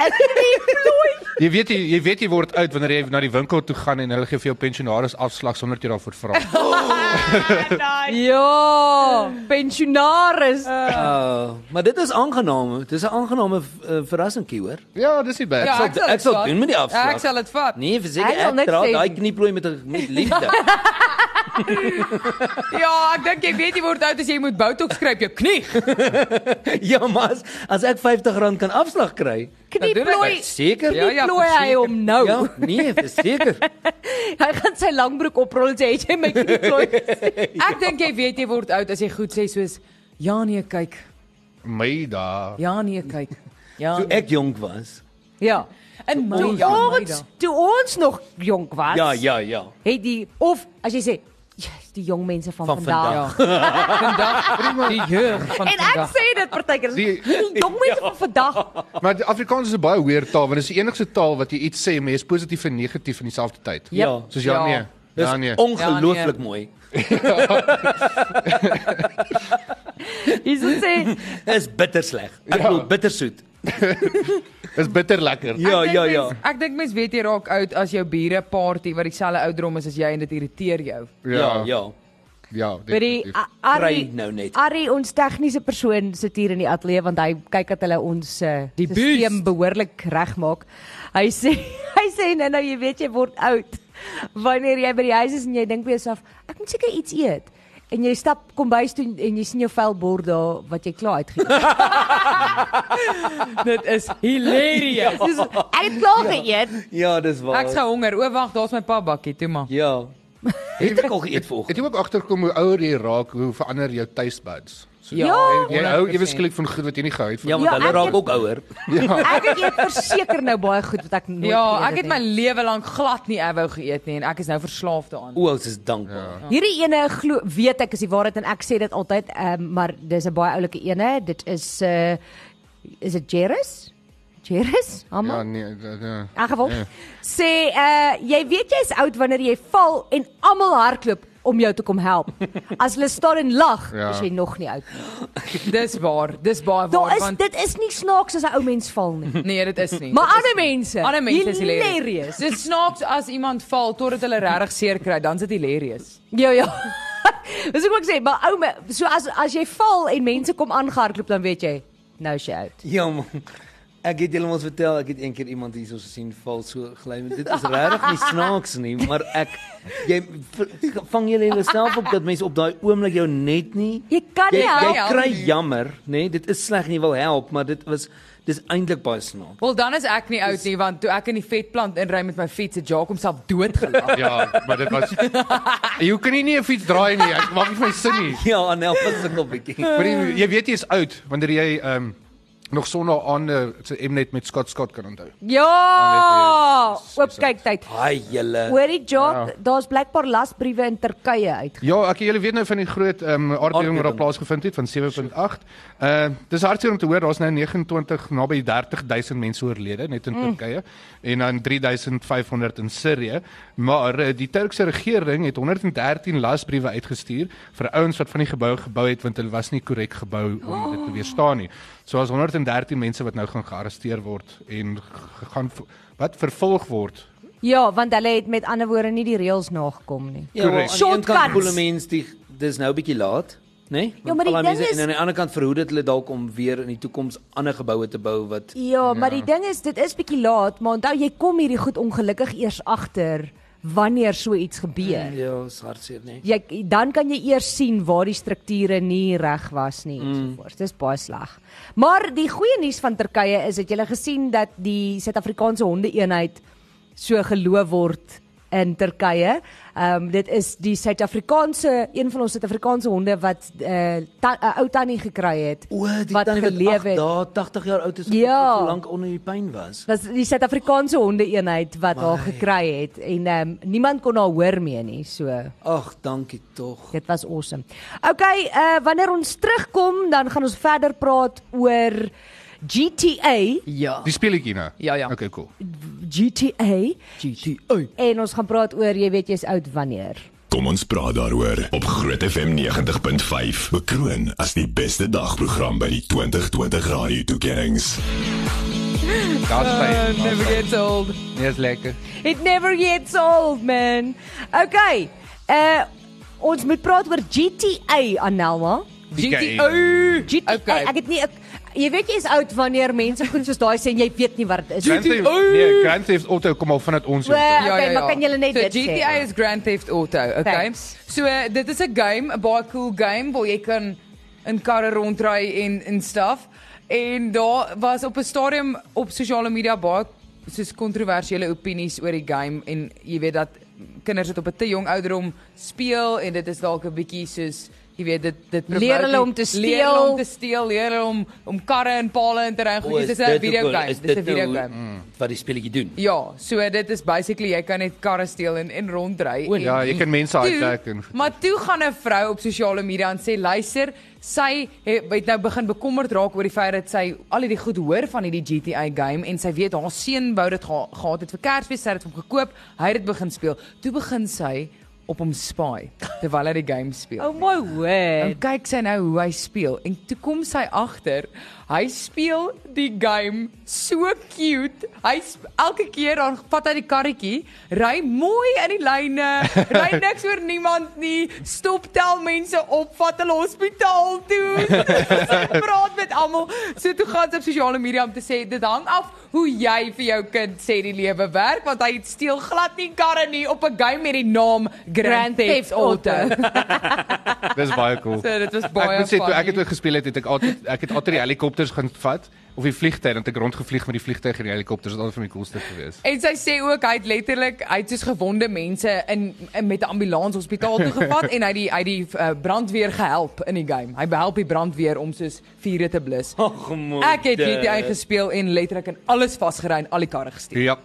Jy weet jy, jy weet jy word oud wanneer jy na die winkel toe gaan en hulle gee vir jou pensionaris afslag sonder dat jy daarvoor vra.
Ja, pensionaris.
Uh, maar dit is aangenaam. Dis 'n aangename uh, verrassingkie hoor.
ja, dis nie bad.
Ja,
Ja,
Ek sal ek sal doen met die afslag.
Ja, ek sal dit vat.
Nee,
Hy sal
verseker
niks
ek dra
sê
daai
nie.
knieplooi met met liefde.
Ja, ek dink jy weet jy word oud as jy moet botox kry op jou knie.
ja, maar as, as ek R50 kan afslag kry,
Knieplooi.
seker?
Ja, ja,
Plooi hy
verseker.
hom nou.
Ja, nee, verseker.
Hy gaan sy langbroek oprol en sê het jy my knieplooi.
Ek dink jy weet jy word oud as jy goed sê soos ja nee, kyk.
my da.
Ja nee, kyk. Ja.
Toe
nee.
ek jonk was,
Ja.
In my
Toe
ja, my
ons,
dae.
toe ons nog jonk was.
Ja, ja, ja.
Het die of as jy sê, yes, die jong mense van,
Van
vandag.
vandag.
Ja, Vandag die jeug van
En ek
vandag.
sê dit partykeer, die,
Die-
die jong mense van vandag.
Maar die Afrikaans is 'n baie weird taal want dit is die enigste taal wat jy iets sê, maar jy is positief en negatief in dieselfde tyd.
Jep.
Ja.
Soos ja,
Ja.
nee.
Dis
Ja nee.
ongelooflik
Ja,
mooi.
Jy sê
Dis bitter sleg. Ek bedoel bittersoet.
Dis bitter lekker.
Ja,
Ek dink
ja, ja.
mens- Ek dink mense weet jy raak oud as jou bure party wat dieselfde ouderdom is as jy en dit irriteer jou.
Ja,
ja.
ja.
ja
by die
definitief.
A- Arrie
Kry nou net.
Arrie ons tegniese persoon sit hier in die ateljee want hy kyk dat hulle ons uh,
Die
stelsel
beest.
behoorlik regmaak. Hy sê hy sê nou nou jy weet jy word oud wanneer jy by die huis is en jy dink by jouself ek moet seker iets eet. En jy stap kombuis toe en jy sien jou vuil bord daar wat jy klaar uitgeëet het.
Dit is hilarious.
Dis ek het klaar geëet.
Ja, dis waar.
Ek sou honger. O wag, daar's my pa bakkie, toe maar.
Ja. Het ek al geëet vanoggend?
Het jy ook agterkom hoe ouer jy raak, hoe verander jou taste buds? So,
Ja.
Jy hou
100%.
ewe skielik van goed wat jy nie gehou het van.
Ja, want
Ja,
hulle
ek
raak
het-
ook ouer.
Ek eet verseker nou baie goed wat ek nooit
Ja,
geëet
ek het
nie.
my lewe lank glad nie avou geëet nie en ek is nou verslaaf daaraan.
Ouers is dankbaar.
Hierdie ene glo weet ek is die waarheid en ek sê dit altyd, ehm maar dis 'n baie oulike ene. Dit is uh is dit Jerris? Jerris?
ja
Almal. Ja,
nee. da- da-
in elk geval.
Ja.
Sê uh jy weet jy's oud wanneer jy val en almal hardloop om jou te kom help. As hulle staan en lag,
Ja.
is jy nog nie oud nie.
Dis waar. Dis baie
Daar
waar
is
want
dit is nie snaaks as 'n ou mens val nie.
nee, dit is nie.
Maar ander mense.
Ander mense is hilarious.
hilarious.
Dit snaaks as iemand val totdat hulle regtig seer kry, dan is dit hilarious.
Ja ja. Dis ook wat ek sê, maar ou me- so as as jy val en mense kom aangehardloop dan weet jy nou is jy oud.
Ja, man. Ek het julle mos vertel, ek het een keer iemand hierso gesien val so gly. Dit is regtig nie snaaks nie, maar ek jy v- vang julle julle self op dat mense op daai oomblik jou net nie
Jy kan
jy,
nie help.
jy
help
kry
nie.
jammer, nê? Nee, dit is sleg nie wil help, maar dit was dis eintlik baie snaaks.
Wel dan is ek nie oud nie want toe ek in die vetplant inry met my fiets het Jacques homself doodgelag.
Ja, maar dit was Jy kan nie nie 'n fiets draai nie. Ek maak nie vir my sin nie.
Ja, en help as ek op bietjie.
Maar jy, jy weet jy is oud wanneer jy ehm um, nog sonder aan eh, se Mnet met Scott Scott kan onthou.
Ja,
Dan weet jy,
oop kyk tyd.
Haai julle.
Hoorie Jock, daar's blykbaar lasbriewe in Turkye uit.
Ja, ek julle weet nou van die groot ehm um, aardbewing wat daar
Aardbewing.
plaasgevind het van 7.8. Uh dis hartseer om te hoor daar's nou 29 naby 30000 mense oorlede net in
Mm.
Turkye en dan 3500 in Sirië. Maar uh, die Turkse regering het 113 lasbriewe uitgestuur vir ouens wat van die gebou gebou het want hulle was nie korrek gebou om dit
Oh.
te weerstaan nie. So as 113 mense wat nou gaan gearresteer word en g- gaan v- wat vervolg word.
Ja, want hulle het met ander woorde nie die reëls nagekom nie.
Ja, maar aan die een
Shortcuts.
kant voel 'n mens die dis nou 'n bietjie laat, né? Nee?
Ja, maar die ding is-
en aan die ander kant verhoed dit hulle dalk om weer in die toekoms ander geboue te bou wat
Ja, maar die ding is dit is bietjie laat, maar onthou jy kom hierdie goed ongelukkig eers agter wanneer so iets gebeur.
Mm, ja, is hartseer, né? Nee?
Jy dan kan jy eers sien waar die strukture nie reg was nie mm. ensovoorts. Dis baie sleg. Maar die goeie nuus van Turkye is dat jy gele gesien dat die Suid-Afrikaanse hondeeenheid so geloof word in Turkye. Ehm um, dit is die Suid-Afrikaanse een van ons Suid-Afrikaanse honde wat 'n uh, ta, uh, ou tannie gekry het
O, die
wat
tannie
geleef
wat
het.
daar 80 jaar oud is en
Ja.
so lank onder die pyn was.
was die Suid-Afrikaanse hondeeenheid wat haar gekry het en ehm um, niemand kon haar hoor meer nie. So
Ag, dankie tog.
Dit was awesome. Okay, uh wanneer ons terugkom, dan gaan ons verder praat oor GTA,
Ja.
Die speletjie nou.
Ja, ja.
Okay, cool.
GTA
GTA.
en ons gaan praat oor jy weet jy's oud wanneer.
Kom ons praat daaroor op Groot FM 90.5 bekroon as die beste dagprogram by die 2020 radio toekenninge.
Daar's
Uh, never
baie.
gets old.
Nee, is lekker.
It never gets old, man. Okay. Uh ons moet praat oor GTA Anelma.
Die
GTA.
GTA,
Okay.
ek het nie ek, jy weet jy's oud wanneer mense goed soos daai sê en jy weet nie wat dit is.
Grand Theft,
GTA.
nee, Grand Theft Auto kom al vanuit ons.
Wel,
Well,
okay, maar kan julle net
so,
dit sê?
GTA is Grand Theft Auto, okay?
Thanks.
So uh, dit is 'n game, 'n baie cool game waar jy kan in karre rondry en en stuff. En daar was op 'n stadium op sosiale media baie soos kontroversiële opinies oor die game en jy weet dat kinders dit op 'n te jong ouderdom speel en dit is dalk 'n bietjie soos jy weet dit dit
Leer
promote
hulle
die-
om te
leer hulle om
steel.
te steel, leer hulle om om karre en palle in te ry. en
O,
Goed,
is
dit is
dit
'n
ook
video
al-
game.
is
Dit is
dit
'n video
nou-
game.
wat die speletjie doen.
Ja, so dit is basically jy kan net karre steel en en rondry.
O, ja,
en-
jy kan mense
Toe-
uittrek en goed.
Maar toe gaan 'n vrou op sosiale media en sê luister, sy het, het nou begin bekommerd raak oor die feit dat sy al hierdie goed hoor van hierdie GTA game en sy weet haar seun wou dit geha gehad het vir Kersfees, sy het dit vir hom gekoop, hy het dit begin speel. Toe begin sy op hom spy terwyl hy die game speel.
Oh my
En
Ja.
word.
kyk sy nou hoe hy speel en toe kom sy agter, hy speel die game so cute. Hy sp- elke keer dan vat hy die karretjie, ry mooi in die lyne, ry niks oor niemand nie, stop tel mense op, vat hulle hospitaal toe. Sy praat met almal. So toe gaan sy op sosiale media om te sê dit hang af hoe jy vir jou kind sê die lewe werk want hy steel glad nie karre nie op 'n game met die naam Grand Theft Auto.
Dis baie cool.
So dit was
Ek
baie
moet sê toe
funny.
ek dit ook gespeel het, het ek altyd ek het altyd die helikopters gaan vat of die vliegtuie, want ek rondgevlieg met die vliegtuie en die helikopters, dit was altyd van die coolste gewees.
En sy sê ook hy het letterlik hy het soos gewonde mense in, in met 'n ambulans hospitaal toe gevat en hy het die hy het die uh, brandweer gehelp in die game. Hy help die brandweer om soos vure te blus.
Ag man.
Ek het GTA gespeel en letterlik in alles vasgery en al die karre gesteek.
Ja.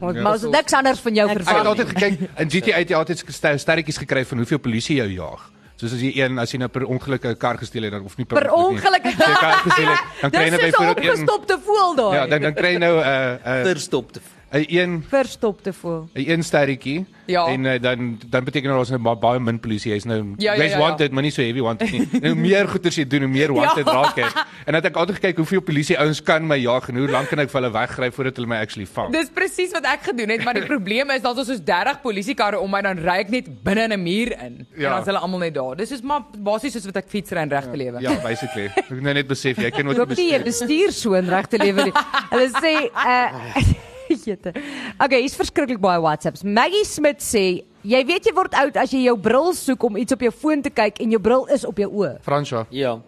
Want mos niks anders van jou
Ek het
verwag.
altyd gekyk in GTA het jy altyd sk- ster- sterretjies gekry van hoeveel polisie jou jaag. Soos as jy een as jy nou per ongeluk 'n kar gesteel het dan of nie per,
Per ongeluk.
nie. As jy 'n kar gesteel het, dan kry jy nou
Dis so 'n
byvoorbeeld een
opgestopte voel daai.
Ja, dan dan kry jy nou 'n 'n
verstop te.
'n een
verstopte voel.
'n een sterretjie
Ja.
en uh, dan dan beteken dit ons nou ba- baie min polisie. Jy's nou
Ja, ja,
jy's
ja, ja.
wanted, maar nie so heavy wanted nie. En hoe meer goeters jy doen, hoe meer wanted
Ja.
ja. raak jy. En dan het ek altyd gekyk hoeveel polisie ouens kan my jaag en hoe lank kan ek vir hulle weggryp voordat hulle my actually vang.
Dis presies wat ek gedoen het, maar die probleem is daar's soos 30 polisiekarre om my dan ry ek net binne 'n muur in. Ja. En
Ja.
dan's hulle almal net daar. Dis is maar basies soos wat ek fietsry in regte lewe.
Ja, basically. Ek het nou net besef jy kan
Ek
ook
hoop nie jy bestuur so in regte lewe nie. Hulle sê uh jette. Okay, hier's verskriklik baie WhatsApps. Maggie Smit sê, jy weet jy word oud as jy jou bril soek om iets op jou foon te kyk en jou bril is op jou oë.
Fransjo,
Ja.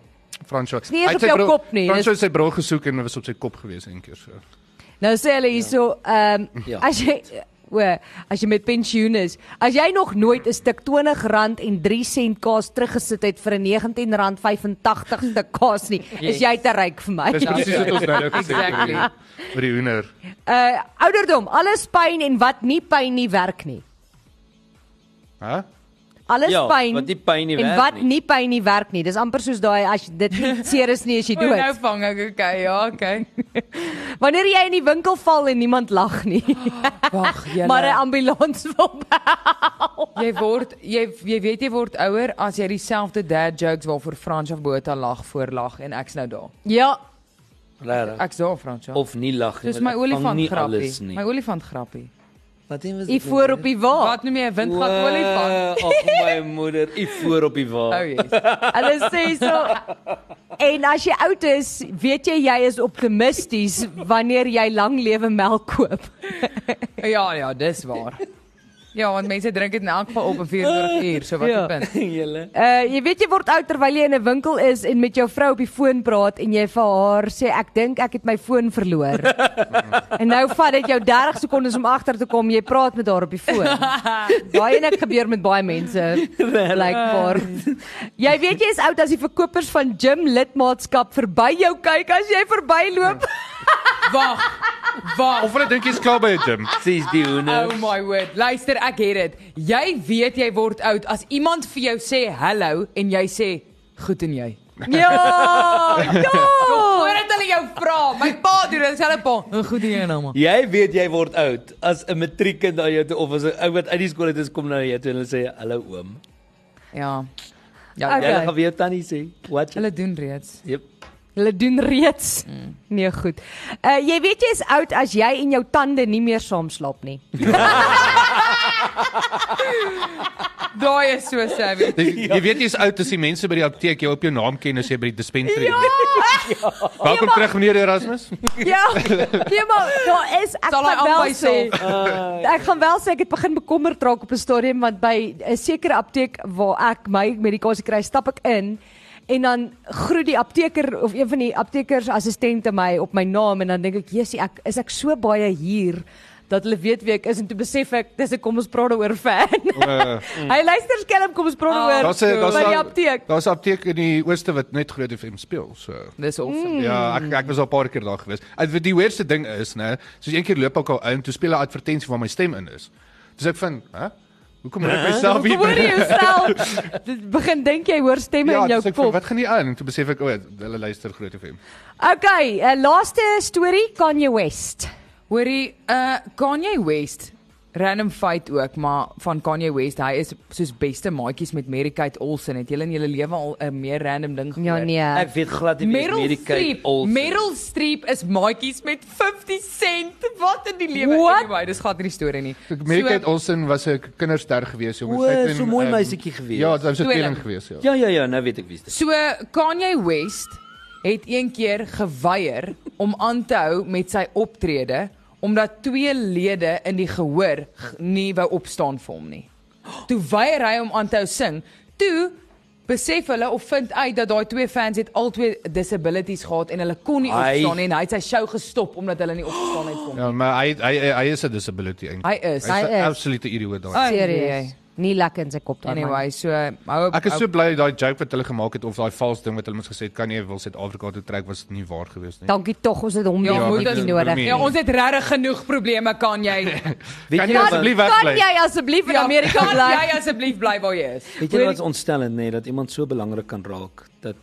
Fransjo.
nie eens op jou kop nie,
Fransjo het sy bril gesoek en was op sy kop gewees een keer so.
Nou sê hulle hierso, ehm
Ja.
as jy o, as jy met pensioen is, as jy nog nooit 'n stuk R20 en 3 sent kaas teruggesit het vir 'n R19.85 stuk kaas nie, is jy te ryk vir my. Ja.
Dis presies wat ons nou nou gesê het.
Exactly.
oor die- Oor die hoender.
Uh ouderdom, alles pyn en wat nie pyn nie werk nie.
Hæ?
Alles
Ja,
pyn.
wat nie pyn nie werk
En wat
nie.
nie pyn nie werk nie. Dis amper soos daai as jy- dit nie seer is nie as jy
O, nou
dood.
vang ek, okay, ja, okay.
Wanneer jy in die winkel val en niemand lag nie,
Ja,
Wag, jy.
maar
nee.
'n ambulans wil bel.
Jy word jy jy weet jy word ouer as jy dieselfde dad jokes waarvoor Frans of Botha lag voor lag en ek's nou daar.
Ja,
Regtig.
Ek's daar Frans. Of
Of nie lag nie.
Dis my
want ek vang
olifant
nie
grappie.
alles nie. Ah.
My olifant grappie.
Wat ding was
u voor op die wa.
Wat noem jy 'n windgat olifant? Oh,
Ag my moeder, u voor op die wa.
Ou jy.
Hulle sê so. En as jy oud is, weet jy jy is optimisties wanneer jy lang lewe melk koop.
Ja ja, dis waar. Ja, want mense drink dit in elk geval op in 24 uur, so wat die
Ja.
punt.
Julle.
Uh jy weet jy word oud terwyl jy in 'n winkel is en met jou vrou op die foon praat en jy vir haar sê ek dink ek het my foon verloor. en nou vat dit jou 30 sekondes om agter te kom jy praat met haar op die foon. Daai en ek gebeur met baie mense blykbaar. Jy weet jy is oud as die verkopers van gym lidmaatskap verby jou kyk as jy verbyloop.
Wag. Wag.
Of hulle dink jy's klaar by 'n gym.
Dis die
Oh
hoender.
my word. Luister, ek het dit. Jy weet jy word oud as iemand vir jou sê hallo en jy sê goed en jy.
Ja! Ja!
Voordat hulle jou vra, my pa doen dit selfe pa. Goed hier nou man.
Jy weet jy word oud as 'n matriekkind na jou toe of as 'n ou wat uit die skool uit is kom nou na jou toe en hulle sê hallo oom.
Ja.
Ja,
Jy
Okay.
gaan weer tannie sê. Wat?
Hulle doen reeds.
Yep.
Hulle doen reeds.
Mm.
Nee, goed. Uh jy weet jy is oud as jy en jou tande nie meer saam slaap nie.
Daai is so savvy.
Dis, Jy weet jy's oud as die mense by die apteek jou op jou naam ken as jy by die dispensary. Ja. Welkom terug meneer Erasmus.
Ja. Nee maar daar is ek
Sal hy
gaan wel
aanwys
sê
sê?
ek gaan wel sê ek het begin bekommerd raak op 'n stadium want by 'n sekere apteek waar ek my medikasie kry, stap ek in en dan groet die apteker of een van die aptekers assistente my op my naam en dan dink ek, "Jessie, ek is ek so baie hier dat hulle weet wie ek is en toe besef ek dis 'n kom ons praat oor fan.
Eh,
Mm. Hy luister skelm kom ons praat
Ah,
oor.
Daar's 'n- daar's
by die
daar-
apteek.
Daar's 'n apteek in die ooste wat net Groot FM speel, so.
Dis awesome.
Ja, ek ek was al 'n paar keer daar gewees. Ek die weirdste ding is, né, soos een keer loop ek al in, toe speel 'n advertensie waar my stem in is. Dis ek van, hè? Hoekom het ek myself hier?
Hoor jy jouself? Dit begin dink jy hoor stemme
Ja,
in jou
dis ek van,
kop.
wat gaan nie aan? En toe besef ek, o, hulle luister Groot FM.
Okay, 'n laaste storie Kanye West.
Hoorie, uh Kanye West random fight ook, maar van Kanye West, hy is soos beste maatjies met Mary Kate Olsen. Het julle in julle lewe al 'n meer random ding gehoor?
Ja nee.
Ek weet glad nie wie
Meryl
hierdie kyk
Streep,
al.
Meryl Streep is maatjies met 50 sent. Wat in die lewe?
What?
Anyway, dis gaan nie storie nie.
Mary Kate Olsen was 'n kinderster gewees, jongens.
O,
Sy het in,
so mooi
ehm,
meisietjie gewees.
Ja, sy was 'n
Tweeling.
tweeling gewees, ja.
Ja ja ja, nou weet ek wie dit is.
So Kanye West het een keer geweier om aan te hou met sy optrede omdat twee lede in die gehoor g- nie wou opstaan vir hom nie. Toe weier hy om aan te hou sing. Toe besef hulle of vind uit dat daai twee fans het albei disabilities gehad en hulle kon nie
Ai.
opstaan nie en hy het sy show gestop omdat hulle nie opgestaan het vir hom.
Ja, maar hy hy hy- hy is 'n disability eintlik.
Hy is.
Hy's 'n
Hy is.
absolute idioot daai.
Ai,
Serieus. Nie lekker in sy kop daai man.
Anyway, so hou op-
Ek is
hou-
so bly daai joke wat hulle gemaak het of daai vals ding wat hulle mens gesê het kan nie wil Suid-Afrika toe trek was nie waar gewees nie.
Dankie tog, ons het hom
Ja,
ja,
moet
nie
ons-
nodig.
moet
Ja, ons het regtig genoeg probleme kan jy.
Weet
Kan
jy
jy
wat-
asseblief
Kan
wegbly?
jy asseblief in
Ja,
Amerika
kan
bly?
Jy asseblief bly waar jy is.
Weet jy wat is ontstellend nê nee, dat iemand so belangrik kan raak dat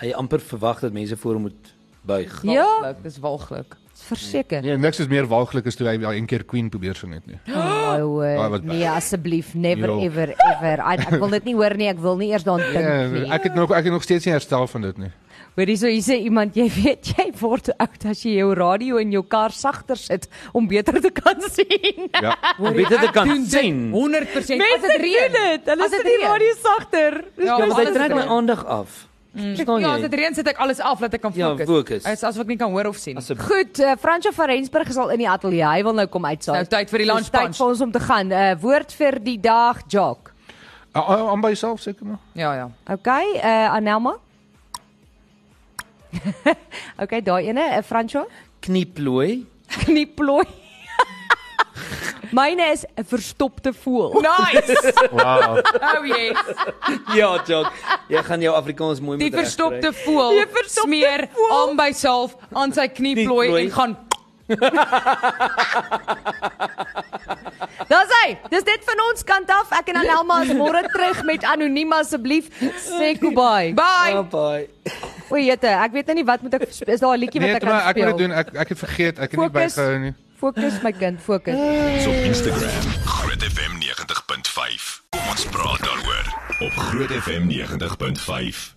hy amper verwag dat mense voor hom moet buig.
Ja.
Walglik, dis walglik.
Verseker.
Nee, niks is meer waaglik as toe hy daai een keer Queen probeer sing het nie.
Ja.
Oh,
Ah,
uh,
wat-
nee asseblief, never
Jo.
ever ever. I, ek wil dit nie hoor nie, ek wil nie eers daaraan dink nie.
Ja, ek het nog ek het nog steeds nie herstel van dit nie.
Hoorie, so hier sê iemand, jy weet jy word oud as jy jou radio in jou kar sagter sit om beter te kan sien.
Ja.
Om beter te kan sien.
100% as
Mense doen
dit reën.
dit. Hulle
As dit
sit die
reën.
radio sagter. Dis
Ja,
Ja,
nou-
maar
alles
dit trek
is
my
reg.
aandag af. Verstaan
Ja, as dit
jy?
reën sit ek alles af dat ek kan
Ja,
fokus.
fokus.
As asof ek nie kan hoor of sien.
Asseblief.
Goed, uh, Fransjo van Rensburg is al in die ateljee. Hy wil nou kom uitsaai.
Nou tyd vir die
Dis
lunch
tyd
punch.
vir ons om te gaan. Uh, woord vir die dag, Jock.
A- a- Aan by jouself seker maar.
Ja, ja.
Okay, uh, Anelma. okay, daai ene, uh, Fransjo.
Knieplooi.
Knieplooi. Myne is 'n verstopte voël.
Nice.
Wow.
Oh yes.
Ja, Jock. Jy gaan jou Afrikaans mooi
Die
moet
verstopte voel
Die verstopte
smeer
voël.
aan by self aan sy knieplooi
Knieplooi.
en gaan
Daar's hy. Dis dit van ons kant af. Ek en Anelma is môre terug met anoniem asseblief. Sê goodbye.
bye.
regkry. Ah, Bye.
O jete, ek weet nou nie wat moet ek is daar 'n liedjie wat
Nee,
ek
maar
kan
ek wil dit
speel.
doen. Ek ek het vergeet. Ek het nie
Focus.
bygehou nie.
Fokus my kind, fokus.
Ons op Instagram Groot FM 90.5. Kom ons praat daaroor op Groot FM 90.5.